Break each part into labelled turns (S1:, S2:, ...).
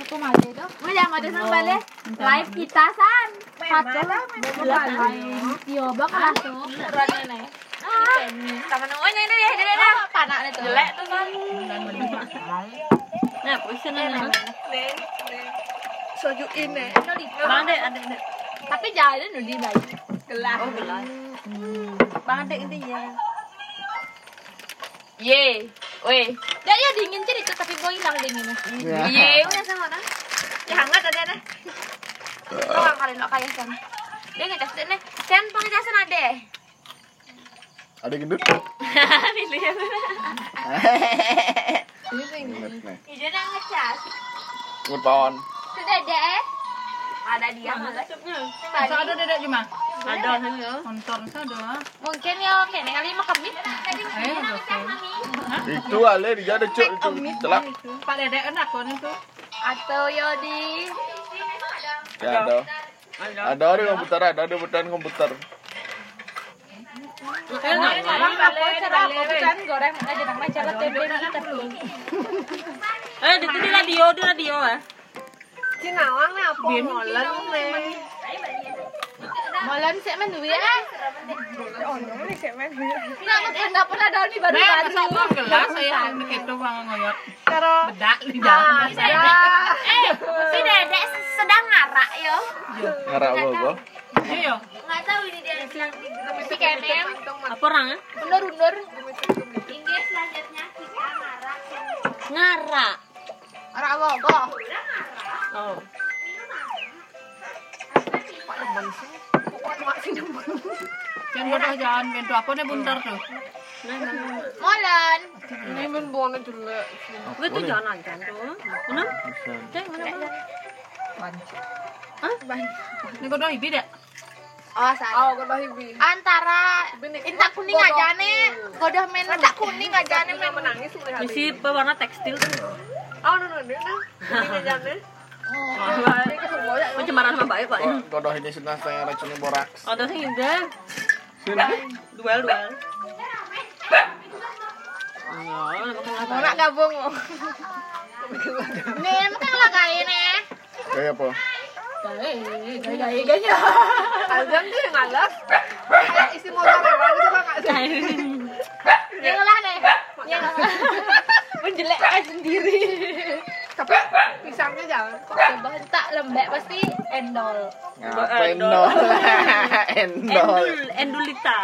S1: aku mati itu
S2: Udah mau tesan balik live kita san.
S1: pacar iya bakal langsung
S2: Ah. Sama namanya ini deh, ini deh. Panaknya tuh. Jelek tuh san. Nah, puisan ini.
S3: soju ini
S2: Bang deh, ada ini.
S1: tapi jalan udah di bayi
S2: Gelas. Hmm. Oh, gelas.
S3: bang dek intinya
S2: Ye. Weh.
S1: dia ya dingin jadi itu tapi gue hilang dinginnya
S2: Ye.
S1: punya sama orang
S2: Ya hangat ada deh. Oh, kalian lo kaya san. Dia ngecas deh, Sen pengecasan ada.
S4: Ada gendut?
S2: Dilihat.
S4: Gendut nih.
S2: Dia nak ngecas.
S4: Good pon.
S1: sudah deh
S2: Ada dia malah.
S3: so ada dedek cuma
S2: Ada sana.
S3: nonton saja
S1: mungkin ya oke nih kali makan mie
S3: eh udah tuh
S4: Itu ale di jada cuk itu telak.
S3: pak dedek enak kok nih tuh
S1: atau ya di
S4: Ya ada. Ada ada komputer, ada ada butang komputer.
S3: enak
S1: orang apa cara aku kan goreng aja nama cara tempe ini tapi
S2: Eh, itu di radio, di radio ya.
S3: cinawang nih apa ngolan nih
S1: malam saya main duit kan kenapa nggak pernah ada di baru
S3: Nek,
S1: baru
S3: masa aku gelas saya begitu bang ngoyot karo bedak lidah
S2: Eh, si Dedek sedang ngarak yo.
S4: Ngarak gua gua.
S3: iya
S2: Enggak tahu ini dia sedang
S1: si kemen
S2: apa orang ya?
S1: undur undur
S2: Inggris selanjutnya kita ngarak. Ngarak.
S1: orang apa kok
S2: Oh.
S3: jangan bodoh jangan bentuk apa nih buntar tuh
S1: malam
S2: Gue tuh jangan nonton tuh. Mana? Cek mana mana?
S3: ini bodoh ibi dek
S1: oh saya antara intak kuning aja nih godah main intak kuning aja nih main
S2: Misi pewarna tekstil tuh. Oh, eh.
S3: Oh.
S2: Pencemaran sama baik pak.
S3: ya.
S4: Kodoh ini sudah saya racunnya boraks.
S2: Oh, terus ini deh.
S4: Sini.
S2: Duel duel. Oh, nama kan
S1: mau nak gabung nih emang kan lah kayak nih
S4: Kayak apa?
S1: yang lah nih yang lah menjelekkan sendiri tapi pisangnya jangan kok bentak lembek pasti endol
S4: Ngapain dong? Endol.
S2: Endul, Endulita.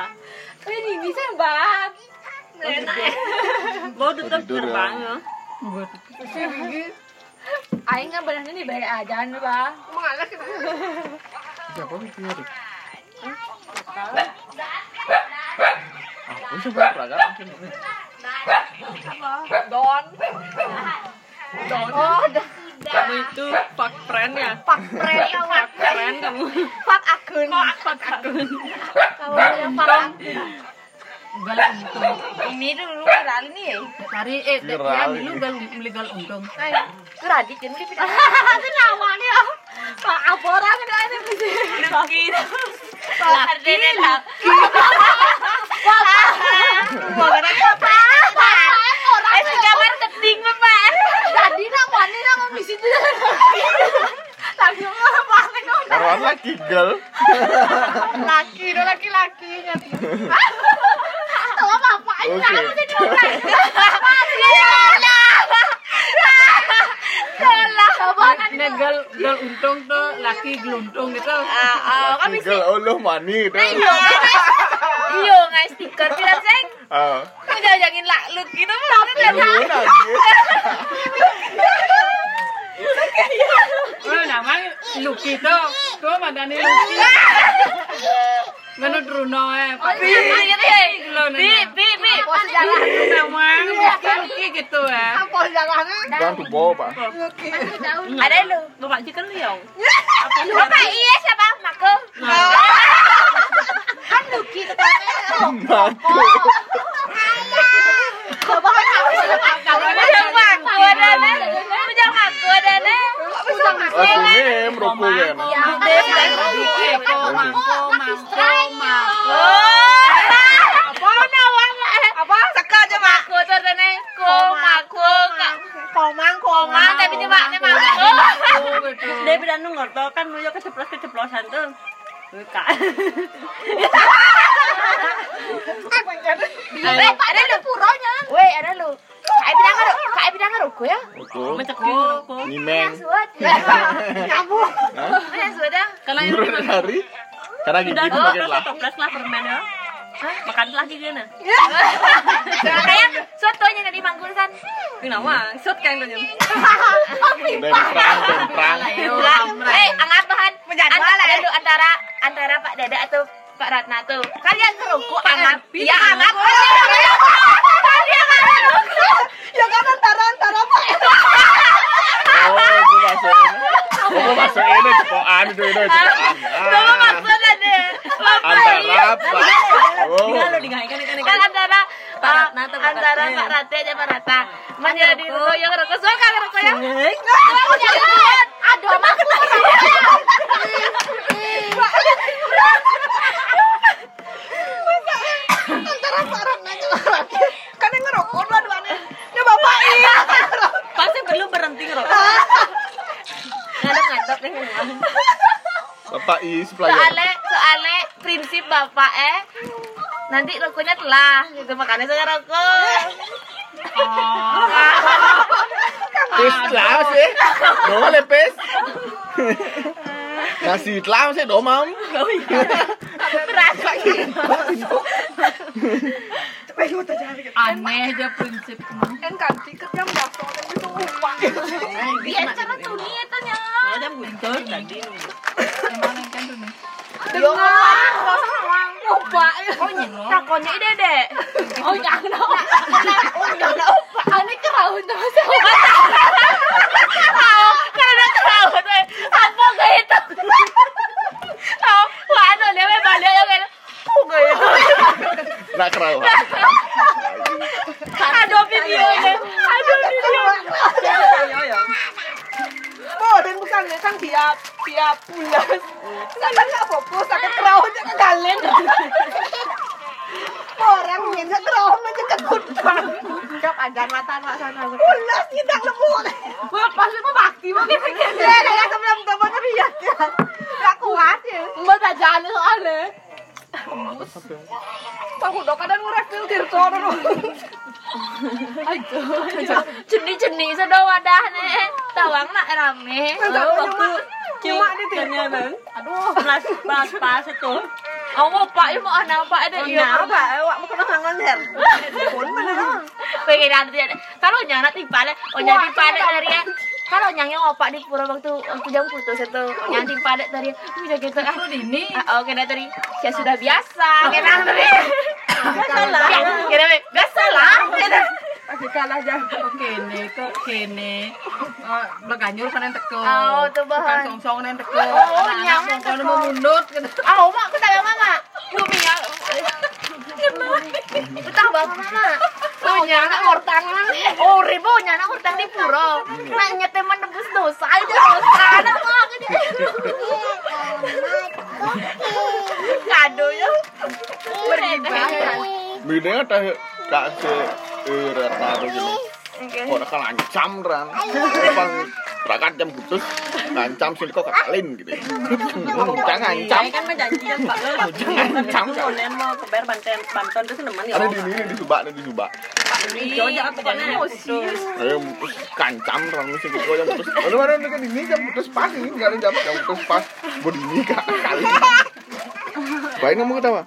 S1: Oh, ini bisa mbak
S2: Enak. Bau tutup
S4: tidur, ya.
S2: gerbang ya.
S1: Aing kan badannya di balik aja nih bang
S4: Siapa mikir? Aku coba peragat mungkin.
S1: oh dah
S2: Kamu ya. itu fuck friend ya.
S1: pak pren kawan
S2: Friend kamu.
S1: pak akun
S2: Fuck aku.
S1: kawan yang pak akun
S3: gal untung
S2: Ini dulu viral ini ya.
S3: cari eh dek
S4: Viral
S3: ya
S4: ini.
S3: dulu gal beli gal untung
S2: Itu radit jadi kita.
S1: itu namanya pak apa orang itu ini mesti
S2: Laki. Laki. Laki.
S1: orang
S2: Eh, sekamar keting bapak.
S1: tadi nak wani nak misi itu lagi orang banget dong
S4: Karuan lagi girl.
S1: laki dong laki lakinya tahu apa apa ini
S4: Oke.
S1: aku jadi orang Salah, sabar kan
S3: Nek gal gal untung tuh laki geluntung gitu
S4: Lagi girl. Oh lu mani tuh.
S2: Iyo, ngai stiker kita cek.
S4: Ah.
S2: Udah jangin lakluk gitu tapi
S4: Lu nangis.
S3: oh namanya Lucky tuh tuh madani Lucky Menurut Bruno eh tapi lo
S2: Bi,
S3: nih
S2: bi, bi.
S1: pos jalan
S3: namanya Lucky Lucky gitu ya
S1: pos jalan
S4: Bang tuh bawa pak.
S2: Ada lu, bapak juga lu yang.
S1: bapak iya siapa mako kan Lucky tetangga
S4: Mati.
S1: Bapak kan aku sudah
S4: Oh sini merokok kan.
S2: Komang, komang, tapi cuma mangko. Daripada nu ngorto kan nguyo keceplos-keceplosan tuh. Buka.
S5: Eh, Pak, ada lu puronya.
S1: Weh, ada lu. Kayak bidang ngaruh, kayak bidang ngaruh gue ya.
S4: Betul.
S2: Mencekuk.
S4: Nyimeng.
S5: Suat.
S1: Nyambung.
S4: Hah?
S5: Mana suat dah?
S2: Kalau yang
S4: Menurut hari, karena gigi
S2: udah
S4: itu pakai
S2: dua
S4: lah.
S2: toples lah permen ya. Makan lah gigi na.
S5: Kayak suat tuh yang di manggur san.
S2: Kenapa? Sut kan tuh.
S4: Dem perang, dem perang.
S5: Eh, angkat bahan.
S2: Menjadwal,
S5: Antara-
S2: eh.
S5: aduh, antara antara Pak Dada atau Pak Ratna tuh. Kalian ngerokok angat.
S2: Erbi
S5: Iya, angat.
S2: ngerokok.
S5: Kalian ngerokok.
S1: Ya kan antara antara apa?
S4: Oh, gue masuk ini. Oh, gue masuk ini cepokan itu itu cepokan.
S2: Iya.
S5: Coba
S4: Ah,
S5: maksudnya ya? deh.
S4: Antara apa? Oh.
S2: Tinggal lo digaikan ikan
S5: kan
S2: ikan.
S5: antara
S2: Pak
S5: eh,
S2: Ratna atau Pak
S5: antara
S2: Ratna?
S5: Pak Ratna Hmm. dan Pak Ratna menjadi rokok yang rokok soal kan rokok yang
S1: Aduh, mak antara parah aja. Kan yang ngerokok dua duanya. Ya bapak iya.
S2: Pasti belum berhenti ngerokok. Ngadep ngadep deh.
S4: Bapak ya. is pelayan.
S5: soalnya Eh, soalnya prinsip bapak eh nanti rokoknya telah gitu makanya saya rokok
S4: Pes telaw sih. Dong le eh, pes. Nasi telaw sih dong mam.
S3: Aneh aja prinsipnya.
S1: Kan ganti kerja mbak soalnya itu lupa.
S5: dia cara tuni itu nya
S2: Ada buntut tadi.
S3: Emang kan tuh nih.
S1: Dengar.
S5: takonnya ide deh
S1: Oh, jangan dong. Oh, jangan dong. Ini kerahun terus.
S5: karena tahu tuh apa gak itu tahu wah tuh Oh, dia ya, memang dia yang kayak
S4: Nak kerau.
S5: ada videonya ada video
S1: Oh, dan bukannya kan tiap tiap bulan. Sana nggak apa-apa, sakit kerahun aja kegalen. Orang minta kerahun aja kekutang. Cok, ajar matan mak sana. Ulas kita lembut. Pasti mau bakti mau kayak begini. Ya, kayak sebelum temannya lihat ya. Nggak kuat ya. Mbak tajaan soalnya. Tahu dong, kadang ngerepil tirton.
S5: jenis-jenis sudah wadah nih tawang nak rame
S1: Tahu waktu
S2: Cuma di tinggalnya Iya, bang. Aduh. Pas pas pas itu.
S5: oh pak ini mau anak pak ada iya pak
S1: awak mau kena hangon her. Pun mana dong.
S5: pengen nanti ada kalau nyana timpale oh
S1: Wah,
S5: nyana timpale
S1: kenapa?
S5: dari ya kalau nyangnya opak di pura waktu waktu jam putus itu nyana timpale dari udah gitu kan
S3: Ini
S5: Oh, kena tadi. Ya sudah biasa. nah, Kena tadi. Biasa lah. Kena nah, biasa lah. Kena.
S3: Oke kalah aja. Kok kene, kok kene. Oh, Belakanyur kan yang teko.
S5: Oh, tuh bahan.
S3: Bukan song-song yang teko.
S5: Oh, nyaman
S3: Anak-anak Kalau mau mundut. gitu.
S5: Ah, mak kita gak mama. Bumi ya. Utang bawa mama. Oh, nyana hortang lah. Oh, ribu nyana hortang di pura. Nanya teman nebus dosa itu dosa. Ada mak. Kado ya. Beribah.
S4: Bidanya teh kak se irat taruh gini. Kok nak lancam ran. Bang berangkat jam putus ngancam sih kok kakalin gitu. Jangan ngancam.
S2: Saya kan menjanjikan Pak Lo.
S4: Ngancam kan.
S2: Konen mau kebar banten banten terus nemen ya.
S4: Ada di sini di Subak, ada di Subak.
S2: Iya, jangan pokoknya.
S4: Ayo putus kancam ran mesti gitu jam putus. Aduh mana dekat ini jam putus pas ini enggak ada jam jam putus pas. Berdini kak kali. Baik kamu ketawa.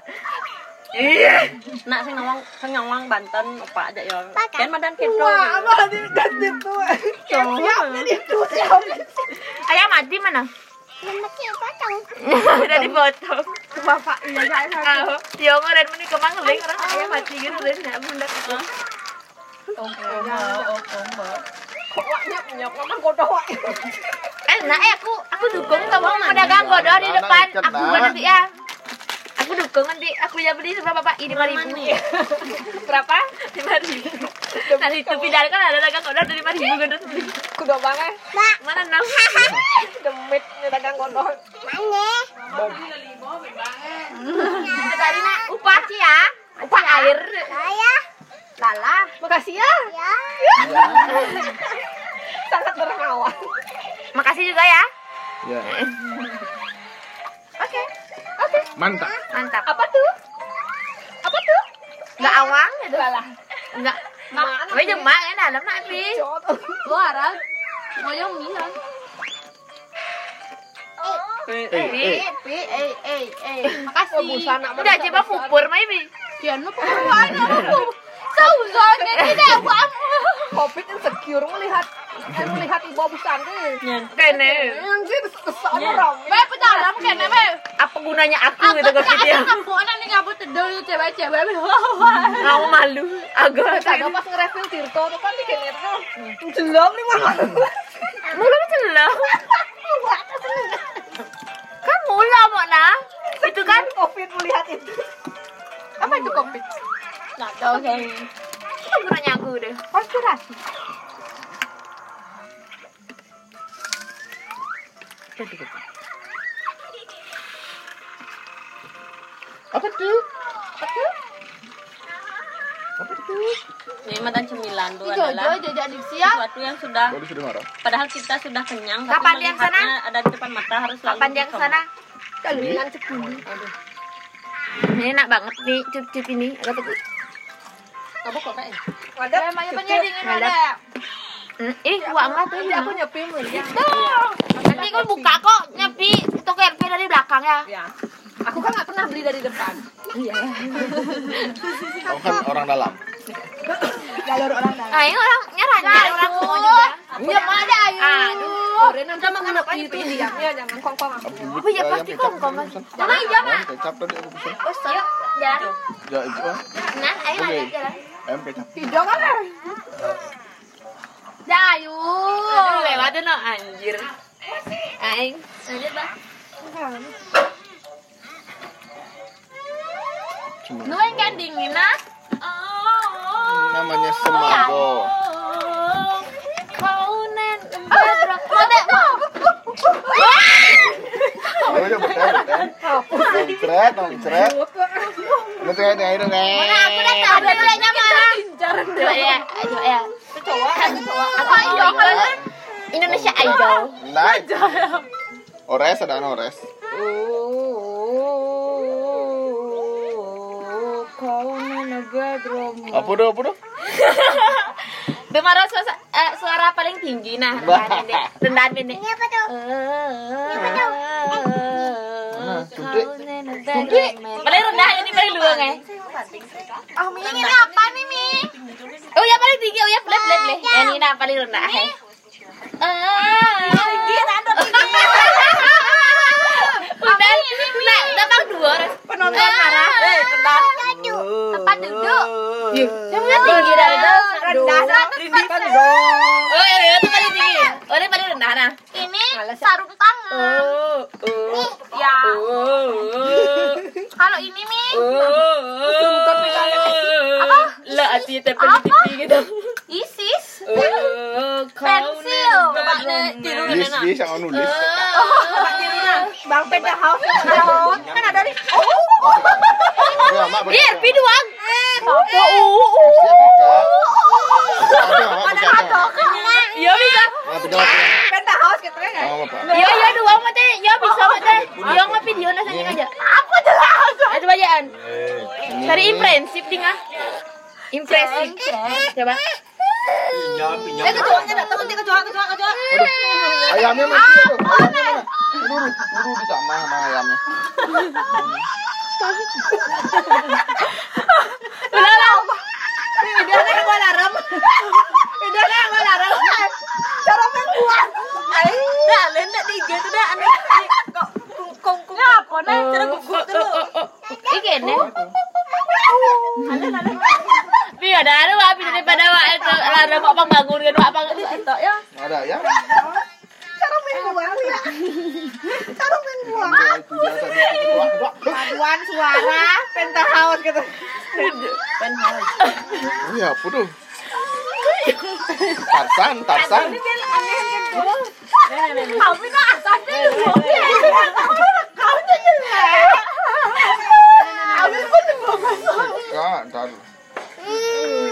S2: Nak sing ngomong sing ngomong Banten opak aja ya. Kan madan kedo.
S1: Wah, apa ini ganti tuh? Siapnya di tuh siapnya.
S5: Ayam mati mana? Udah dipotong.
S1: Bapak iya saya saya.
S5: Tahu. Ya orang meni kemang leng orang ayam mati gitu deh enggak bunda.
S1: Koknya punya kokan kodoh.
S5: Eh, nah eh aku aku dukung tau mau pedagang bodoh di depan. Aku buat nanti ya. Aku dukung nanti aku yang beli seberapa Pak? Ini 5000. Berapa? 5000. Tadi itu pindah kan ada dagang bodoh dari 5000 gendut.
S1: Kudo banget.
S5: Mana nang?
S1: Demit dagang kodoh.
S5: Tadi nak upah sih ya. Upah air.
S1: Lala, makasih ya. Sangat dermawan.
S5: Makasih juga ya.
S4: Ya.
S5: Oke. Oke.
S4: Mantap.
S5: Mantap.
S2: Apa tuh? Apa tuh?
S5: Enggak awang gitu.
S2: Salah.
S5: Enggak.
S2: Mana?
S5: Wei demak kan dalam nak pi.
S2: Luaran. Ngoyong bisa.
S4: Eh, eh.
S1: Eh, pi, eh, eh, eh. Makasih.
S5: Udah aja mah pupur mai pi.
S1: Kian lu perempuan aku. Sauzon ini deh, kamu. Covid insecure melihat melihat ibu abusan deh.
S5: Kene.
S1: Anjir, kesan orang. Baik, pedalam kayaknya, baik.
S5: Apa gunanya aku gitu ke dia?
S1: Kampungan ini ngabut dedel cewek-cewek. Wah,
S5: Ngau malu. Agak
S1: Tadi pas nge-review Tirto tuh kan di kayaknya tuh jelom nih malah.
S5: Belum celah. Kan mula mau nah. Itu kan
S1: Covid melihat itu. Apa itu Covid?
S2: Nggak tahu saya.
S5: apa gunanya aku deh.
S1: Konspirasi.
S4: Apa tuh?
S2: Ini makan cemilan tuh
S1: Jojo
S2: adalah
S1: jajak diksi ya.
S2: sesuatu yang sudah
S4: Tadi sudah marah.
S2: padahal kita sudah kenyang
S5: Kapan dia kesana?
S2: melihatnya ada di depan mata harus selalu
S5: Panjang ke
S2: dikam.
S5: sana.
S1: Kalau bilang cekuni. Aduh.
S5: Ini enak banget nih cup-cup ini. Agak tuh.
S2: Kamu kok kayak
S1: Wadah, maya penyedingin wadah.
S5: Hmm, Ini kuat banget tuh.
S1: Ini aku nyepi mulia.
S5: Nanti kau buka kok nyepi toko RP dari belakang ya.
S1: Ya. Aku kan nggak pernah beli dari depan.
S5: Iya,
S4: Kau kan orang dalam.
S1: Jalur orang dalam.
S5: Nah ini orang nyerah nyerah orang semua juga.
S1: Diam aja ayo.
S5: Iya, Aduh.
S1: Orang nanti mau ngenepi itu diamnya jangan kongkong.
S4: Apa
S5: Apa ya, pasti kongkong. Mama, iya, Mak.
S4: Ayam kecap tadi aku pesan.
S5: Oh yuk jalan.
S4: Ya itu. ah.
S5: Nah ayo
S4: Oke.
S5: lanjut jalan.
S4: Ayam kecap.
S1: Hijau kan? eh? Dah ayo.
S5: Aduh lewat no anjir. Aing lanjut bah.
S4: Cuma
S5: Dua yang kan dingin nah.
S4: namanya semago.
S5: Oh, iya. Kau nen bergerak. Mau deh mau.
S4: Oh ya betul. Cret, dong, cret. Betul ada air nih.
S5: Mana Nah, aku dah tahu mulainya mana. Coba ya, coba ya. Aku idol kan. Indonesia Idol.
S4: Nah. Ores ada anak ores. Apa do, apa do?
S5: Demaro suara, eh, suara paling tinggi nah
S4: Wah.
S5: rendahan ini. Rendahan ini. Ini apa tuh?
S4: Mana? Cudek.
S5: Paling rendah ini paling dua nge.
S1: Ah, Mi ini apa nih, Mi?
S5: Oh ya paling tinggi, oh ya bleh bleh bleh. Ya ini nah paling rendah. he. Tinggi nanda tinggi. Udah, nah, dapat dua orang.
S1: Penonton
S5: Eh,
S1: marah.
S5: rendah. Tempat duduk. Yang mana tinggi dari itu?
S1: Rendah 100%.
S5: Oh, ya, ya, itu paling tinggi. Oh, ini paling rendah nah.
S6: ini sarung tangan.
S5: Oh,
S6: Ya. Kalau ini mi,
S5: Oh, Lah, hati tapi tinggi gitu. Oh,
S6: ISIS.
S5: Pensil.
S4: Bis, bis
S1: Eh.
S4: yang mau nulis.
S1: Bang Peda House. House. Kan ada di
S4: Iya, Mak,
S5: Iya,
S4: betul.
S5: pi doang.
S4: Iya, Kak. Apa, Mak,
S1: ada
S4: betul,
S1: hot
S4: Mak?
S5: Iya bisa.
S4: Mak, Ah, betul, Mak.
S1: Peda House gitu kan. ya?
S4: Sama, Pak.
S5: Iya, iya doang mah teh. Iya bisa mah teh. Iya mah video nasanya aja. Aku jelas. Ada bacaan. Cari impresif ding ah. Impresif. Coba.
S1: Eh, kecoanya datang nanti kecoa, kecoa, kecoa.
S4: Ayamnya mati aduh.
S1: Ah,
S4: Ayamnya mana? Aduh, aduh, aduh, di kamar sama ayamnya.
S5: Ulah lah.
S1: Videonya yang gua larang. Videonya yang gua larang. Cara main buat.
S2: Dah, lain dah tiga tu dah anak. Kok kongkong apa nak? Cara gugur tu.
S5: Ini kene. Pi ada ada wa pi daripada wa itu ada mau bangun kan wa bang.
S2: Tak ya.
S4: Nggak Ada ayam.
S1: Cara main buat ya. Cara main buat.
S4: Dua, itu dia tadi. Dua, dua.
S1: Paduan suara penthouse gitu.
S4: Iya, apa tuh? Tarsan, Tarsan. Enggak, enggak.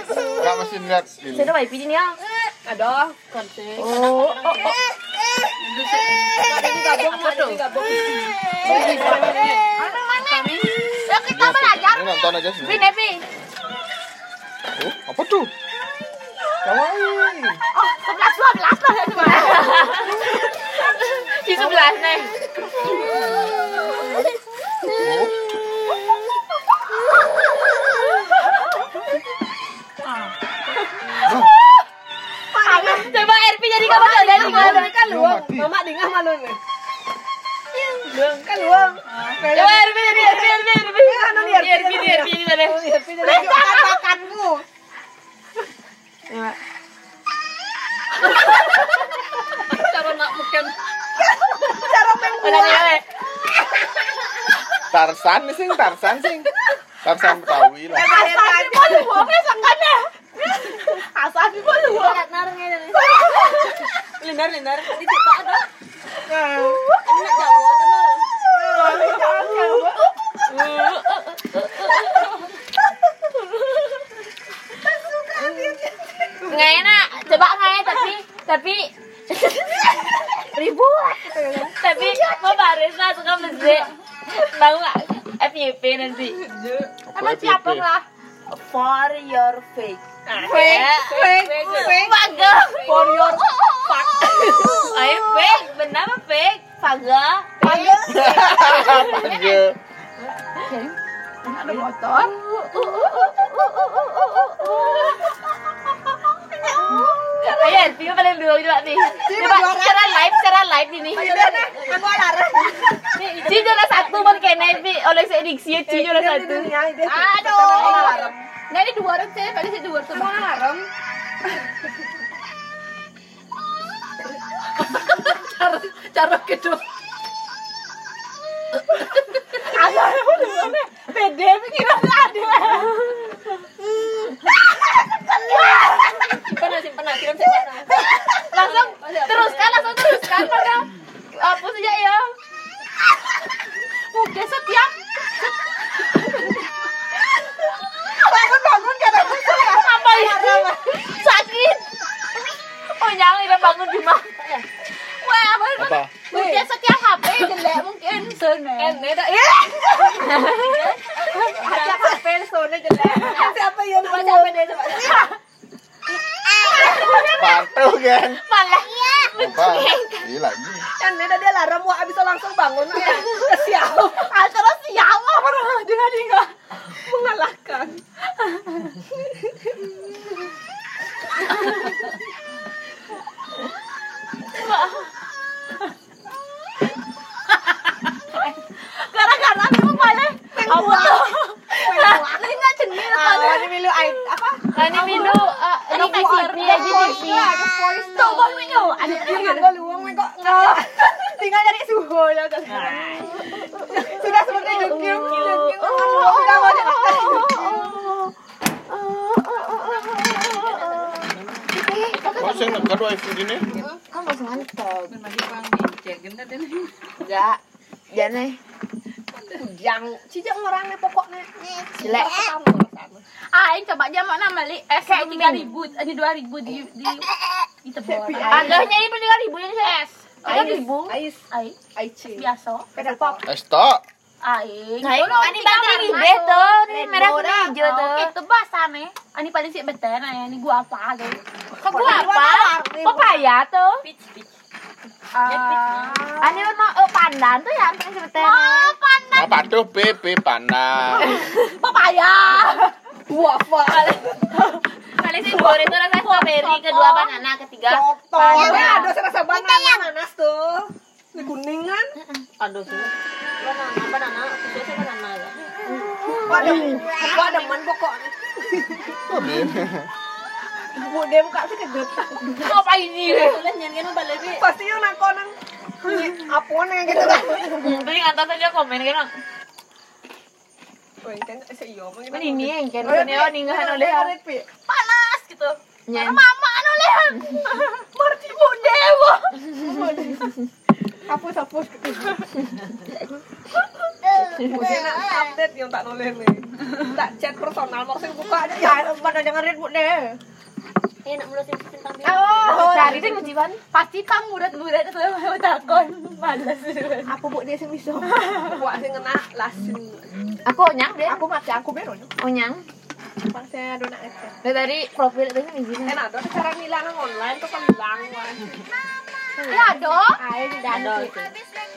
S4: Enggak mesti lihat ini.
S5: Sudah wa pi ini ya.
S1: Aduh, konten. Oh, oh, oh. Enggak
S3: dong.
S5: Mana mana? Yuk kita belajar.
S4: Ini nonton aja
S5: Pi,
S4: sendiri.
S5: Nepi.
S4: Oh, apa tuh? Kawaii.
S5: Oh, sebelas dua belas lah ya cuma. Di sebelas nih.
S4: Oh,
S5: Coba RP jadi kamu tuh dari mana?
S4: kan lu.
S2: Mama dengar malu nih.
S5: Coba RP jadi RP RP RP.
S1: Eh, anu
S5: Di RP di RP di mana?
S1: Katakanmu.
S2: Cara nak mungkin
S1: Cara main
S5: Mana dia?
S1: bola.
S5: weh?
S4: Tarsan sih, Tarsan sih. Tarsan Betawi lah.
S1: Asal di bawah luar, sangkanya. Asal di bawah luar.
S2: linar linar di TikTok ada. Enak jauh tenang.
S5: Nggak enak. Coba nggak ya, tapi tapi ribuan. Tapi mau baris lah suka masjid. Mau nggak? FYP nanti.
S4: Apa siapa lah?
S1: For your fake.
S5: Ya. Fake, fake, fake,
S1: For your
S5: Ayo fake, benar apa fake? Faga.
S4: Panggil.
S1: ada motor.
S5: Ayo, Elvio paling dua coba nih. Coba secara live, secara live ini.
S1: Kan bola.
S5: Ci juara satu pun kena Elvi oleh saya diksi ya Ci juara satu.
S1: Aduh.
S6: Nah ini dua orang saya, paling saya dua orang.
S2: Cara kedua. Pernah sih pernah kirim saya.
S5: Langsung teruskan, langsung teruskan pada apa saja ya. Mungkin setiap
S1: Bangun bangun karena aku suka.
S5: apa itu sakit. Oh jangan udah bangun di mana? Wah apa itu?
S4: Apa?
S5: Mungkin setiap HP jelek mungkin.
S2: Enak dah.
S1: Siapa pel sone jelek. Siapa yang buat siapa dia coba.
S4: Pantul kan?
S5: Malah.
S4: Apa? Iya lagi.
S1: Kan Neda dia larang mau abis itu langsung bangun. Siapa? Acara siapa pernah dengan dia mengalahkan.
S5: Gara-gara aku malah. Apa tuh?
S1: Ini nggak jenis apa? Ini milu ai- apa?
S5: Nah, Ini minum. Ini kasih
S1: Ada
S5: RP aja
S1: voice
S5: sih.
S1: lah, ada voice lah.
S5: Tunggu minum. Ada
S1: Jangan gua luang main kok nggak. Tinggal dari suhu ya kan. Sudah seperti jungkir. Sudah mau jadi.
S4: Kok sih nggak kedua itu ini?
S3: Lagi bang bincang gendar dan
S1: Enggak. Ya nih. Yang cijak orangnya pokoknya. Jelek.
S6: Aing coba aja mau nama li eh saya tiga ribu, ini dua ribu di di di tebor.
S5: Agaknya ini pendengar ribu ini ses. Tiga ribu.
S1: Ais.
S6: Aing
S1: Aici.
S6: biasa.
S1: Pedal pop.
S4: Estok.
S6: Aing.
S5: Nah, ini baterai bibe tuh, ini merah kuning hijau tuh.
S6: Itu bahasa nih. Ini paling sih beten ya. Ini gua apa
S2: gitu.
S6: tuh?
S5: Kok gua apa? Pepaya tuh.
S2: Pitch pitch.
S5: Ini mau eh, pandan tuh ya, ini sebetulnya.
S6: Oh, pandan
S4: Nah, patuh PP panah.
S6: pepaya.
S1: Wafa.
S5: Kali sih boleh tuh rasa strawberry, kedua banana, ketiga
S1: Kotor. Ya, ada rasa banana nanas tuh. Ini kuning kan?
S2: Aduh sih. Banana banana. Kita sih banana ya.
S1: Gua ada gua ada man pokoknya. Bu dia buka sih kedep.
S5: apa ini?
S2: Tulen jangan kena balik ni.
S1: Pasti yang nangko nang. Apa nih gitu kan?
S5: Mending antar saja komen kan.
S1: Wah, kan seiyo.
S5: Kan ini yang kan keneo ninggahan oleh ya.
S6: panas gitu.
S5: nyen.
S6: Mama anu lihat. Marti bu dewa.
S1: Hapus hapus. Kemudian nak update yang tak nulis ni. Tak chat personal maksudnya buka aja. Ya, mana jangan read bu deh.
S2: Eh nak mula sih tentang
S1: Oh,
S6: Cari sing ujian. Pasti pang murid-murid itu mau takon. Malas.
S1: aku buat dia sing iso.
S2: Buat sing kena lasu.
S5: Aku nyang deh.
S1: Aku mati aku bero yo.
S5: Oh nyang.
S1: Pang saya dona ete.
S5: Dari tadi profil itu nih izin.
S2: Enak tuh cara ngilang online tuh kan hilang wah.
S6: Ya do.
S1: Ae
S2: Ada
S1: dando.
S2: gitu.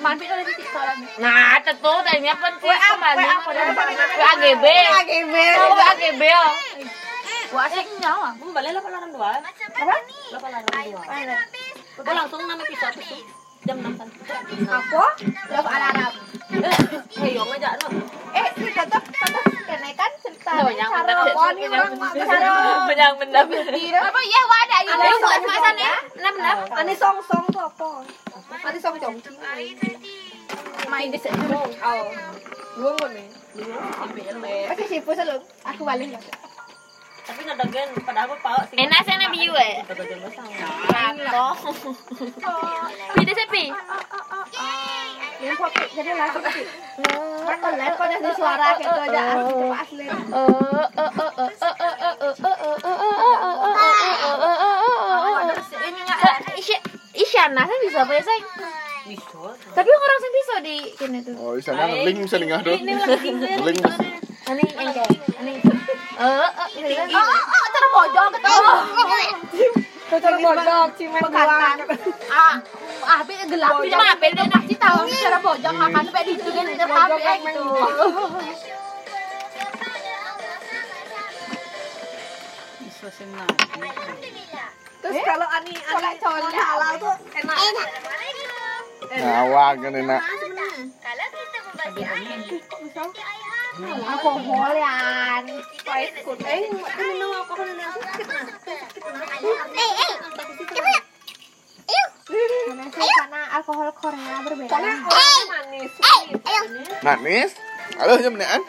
S6: Manfit oleh titik soalan.
S5: Nah, tentu tadinya pun sih kemarin WAGB.
S1: Lagi bero.
S5: Oh, WAGB. oh.
S6: Wah, asik nyawa.
S2: Kamu balik lah laran dua. Apa? Lah laran dua. Kau langsung nama pisau itu jam enam kan. Eh,
S1: Apa?
S6: Love alarm.
S2: Hei, yang aja lu.
S1: Eh, kita tetap tetap kene kan cerita
S5: Oh, nyang
S1: cara
S5: mendap.
S1: apa nih orang mak cara.
S5: Menyang mendap.
S1: Apa?
S6: Apa iya wah ada ayo.
S1: Ada
S6: Buat
S1: soalan
S6: masan ya.
S5: Enam enam.
S1: Ani song-song tuh apa? Ani song-song.
S6: Main di sini.
S1: Oh. Lu ngene. Oke, siapa selalu? Aku balik ya.
S2: Tapi ngedagen padahal aku pau sih.
S5: Enak sana biu eh. Rato. Pide sepi.
S1: Ini foto jadi langsung sih. Kan live kok dari suara gitu aja asli coba asli.
S5: Isyana saya bisa apa ya sayang?
S2: Bisa.
S5: Tapi orang sing bisa di kene tuh.
S4: Oh, sana link bisa nih ngadu. Link mas.
S5: Ini engke, ini. Eh, eh, ini kan.
S6: Oh, oh, terbojong ketemu.
S1: Cocok bodok, cimen doang.
S6: Ah, habis gelap.
S5: Tapi mah beda nak
S6: Pasti tahu terbojong makan sampai dihitungin di depan ya gitu.
S3: Bisa senang.
S1: Terus
S6: Eh?
S1: kalau ani ani cowok halal
S6: ya.
S1: tuh enak.
S4: Ngawang kan enak.
S1: Aku molian. Pahit kun. Eh, kan minum apa kan minum sakit nah. Karena sih karena alkohol Korea berbeda.
S2: Manis.
S4: Manis. Halo, jam menean.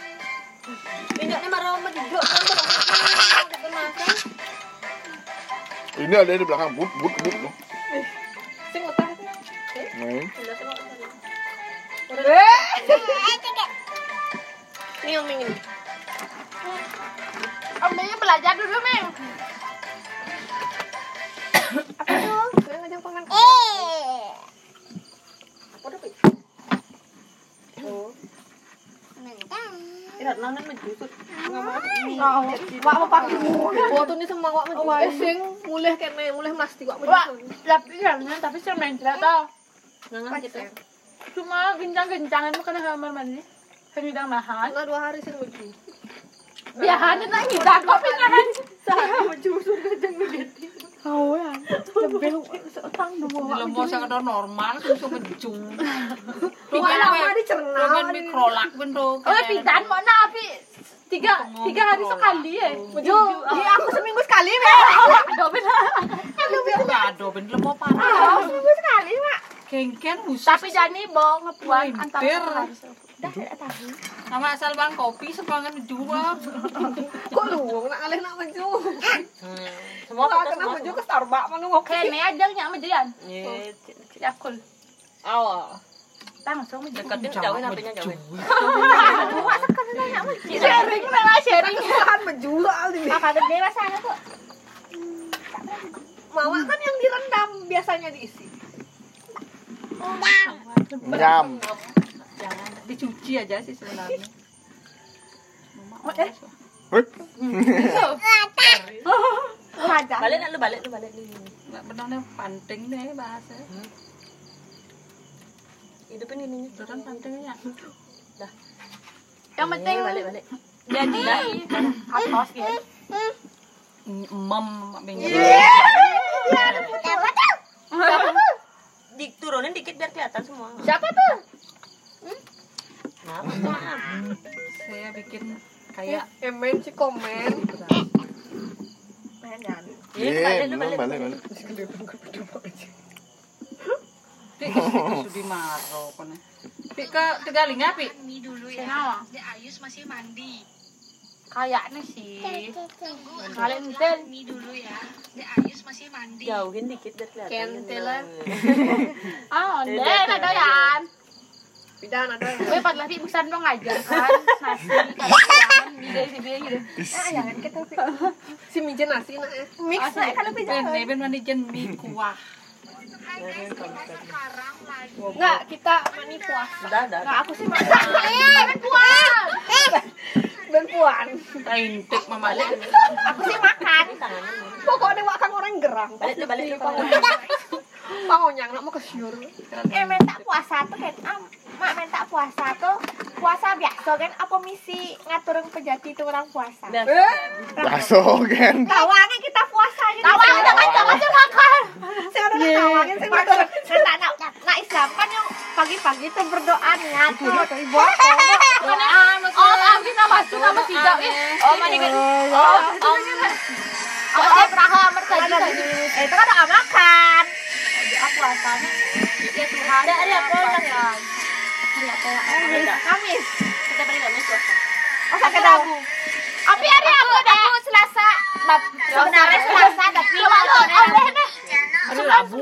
S2: Minyaknya marah sama juga kan. Kita makan.
S4: Ini ada di belakang but but but loh. Hmm.
S2: Sing utah.
S4: Nih.
S2: Miung miung.
S6: Ambilnya belajar dulu, Ming.
S1: Apa tuh? Gue ngajak pengen.
S2: Tidak nanan menjusut.
S1: Wak mau pakai Foto ini semua wak mau pakai sing mulih kene mulih mesti wak
S6: Wah,
S1: mau.
S6: tapi karena tapi sih main tidak tahu.
S2: Nangan gitu.
S6: Cuma gencang-gencangan itu karena kamar mandi. Kan udah mahal.
S1: Enggak dua hari sih lucu.
S6: Biahannya tak kita kopi nahan.
S1: Kawan, lebih utang dua.
S3: Kalau mau saya normal, susu mencung.
S1: Wah, lama dicerna.
S3: Dengan mikrolak bentuk.
S6: Oh, pitan mau na api tiga tiga hari sekali ya.
S1: Jo, iya aku seminggu sekali ya.
S6: Aduh benar.
S3: Gado, bener mau
S7: Ah,
S3: parah.
S1: Seminggu sekali mak.
S3: Kengken khusus.
S6: Tapi Jani mau ngebuat antar
S3: Lintir.
S6: hari.
S7: ya,
S3: Sama asal bang kopi, sepangan dua.
S1: Kok luwung nak alih nak maju.
S2: Semua
S1: Kalau
S2: kita
S1: kena
S2: semua.
S1: maju ke Starbucks mana mau
S6: Kayak me aja nyak menjian.
S2: Iya.
S6: Yakul.
S2: Awal.
S6: Langsung menjian.
S2: Deketin jauhin apinya jauhin.
S6: Sharing lah sharing.
S1: kan maju soalnya.
S6: Makan dia rasanya kok.
S1: Mama kan yang direndam biasanya diisi.
S4: Nyam.
S3: Dicuci aja sih sebenarnya.
S7: Eh?
S4: Heh.
S1: Raja.
S2: Balik nak lu balik lu balik lu.
S3: Nggak pernah nih panting deh bahasa.
S7: Hmm.
S2: Hidupin ininya.
S3: Doran pantingnya.
S6: Yang penting
S2: Balik balik.
S6: jadi atas ya.
S7: Hmm,
S3: Mem, minggu.
S7: Iya.
S2: Dik turunin dikit biar kelihatan semua.
S6: Siapa tuh?
S2: Nah,
S3: Saya bikin kayak
S1: Emen sih komen. Pengen.
S4: Iya, belum balik balik.
S7: Eh.
S3: Pik itu di Maro kone. Pik ke Tegalinga Pik.
S6: Senang. Iya. Kayaknya sih. Kalian tel.
S5: ya.
S2: jauhin dikit biar kelihatan.
S1: Kentil lah.
S6: Ah, deh, ada yan.
S7: Pidan ada yang.
S5: Gue pas lagi busan dong ngajar kan nasi kacang di dari gitu.
S7: Ah, jangan kita sih. Si mijen nasi nak. Mix nak kalau pidan.
S3: Ini ben mandi jen mie kuah.
S5: Enggak, kita mani puas.
S2: Udah, udah.
S5: Enggak, aku sih mani. Mani puas.
S7: Dan puan.
S3: Lain tek mama lek.
S5: Aku sih makan.
S7: Pokoknya wak kang orang gerang.
S2: Balik deh, balik deh.
S7: Pangonyang nak mau kesyur.
S1: eh minta puasa tuh kan am mak minta puasa tuh puasa biasa kan apa misi ngaturin pejati itu orang puasa
S2: Biasa.
S7: Eh,
S4: Langsung kan.
S1: tawannya kita puasa aja
S5: Tawa kita kan sama makan.
S7: sing ada
S5: Iya,
S7: nak tawangin sing matur.
S1: nak nak nak Islam kan yang pagi-pagi tuh berdoa
S7: Itu
S1: ngatur
S7: dia tadi buat.
S5: Oh, abi nama su nama tidak.
S1: ya.
S5: Oh, mani kan. Oh, oh. Aku perahu amar saja saja.
S1: Eh, itu kan doa makan Iya,
S5: Ya Tuhan. Ada ada apa orang.
S1: Kamis
S2: Kita balik deh, puasa.
S1: masa ke Rabu
S5: Tapi hari aku udah aku Selasa. Bab-
S1: sebenarnya Selasa tapi
S5: Coba lo oleh nah.
S3: Aduh labu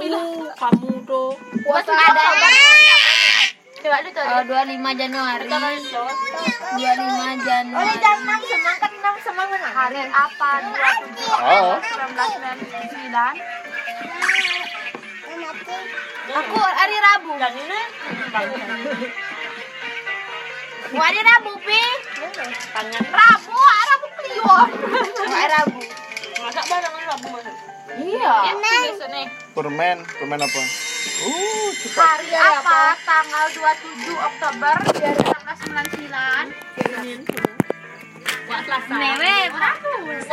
S3: kamu tuh.
S5: Puasa ada. Coba lu tuh.
S8: Kalau 25 Januari 25
S1: oleh
S8: Januari
S1: jam enam semang kan enam semang kan hari
S5: Apa?
S4: Oh.
S5: 1999.
S1: aku hari Rabu
S2: Dan ini
S1: Gua hari Rabu pi
S2: tangan
S1: Rabu ah, Rabu kliwon Gua hari Rabu
S2: masak barengan Rabu masak.
S5: Iya.
S4: Permen, permen apa? Uh, cepat.
S5: Hari apa? Tanggal 27 Oktober 1999.
S2: Buat Selasa.
S1: Nenek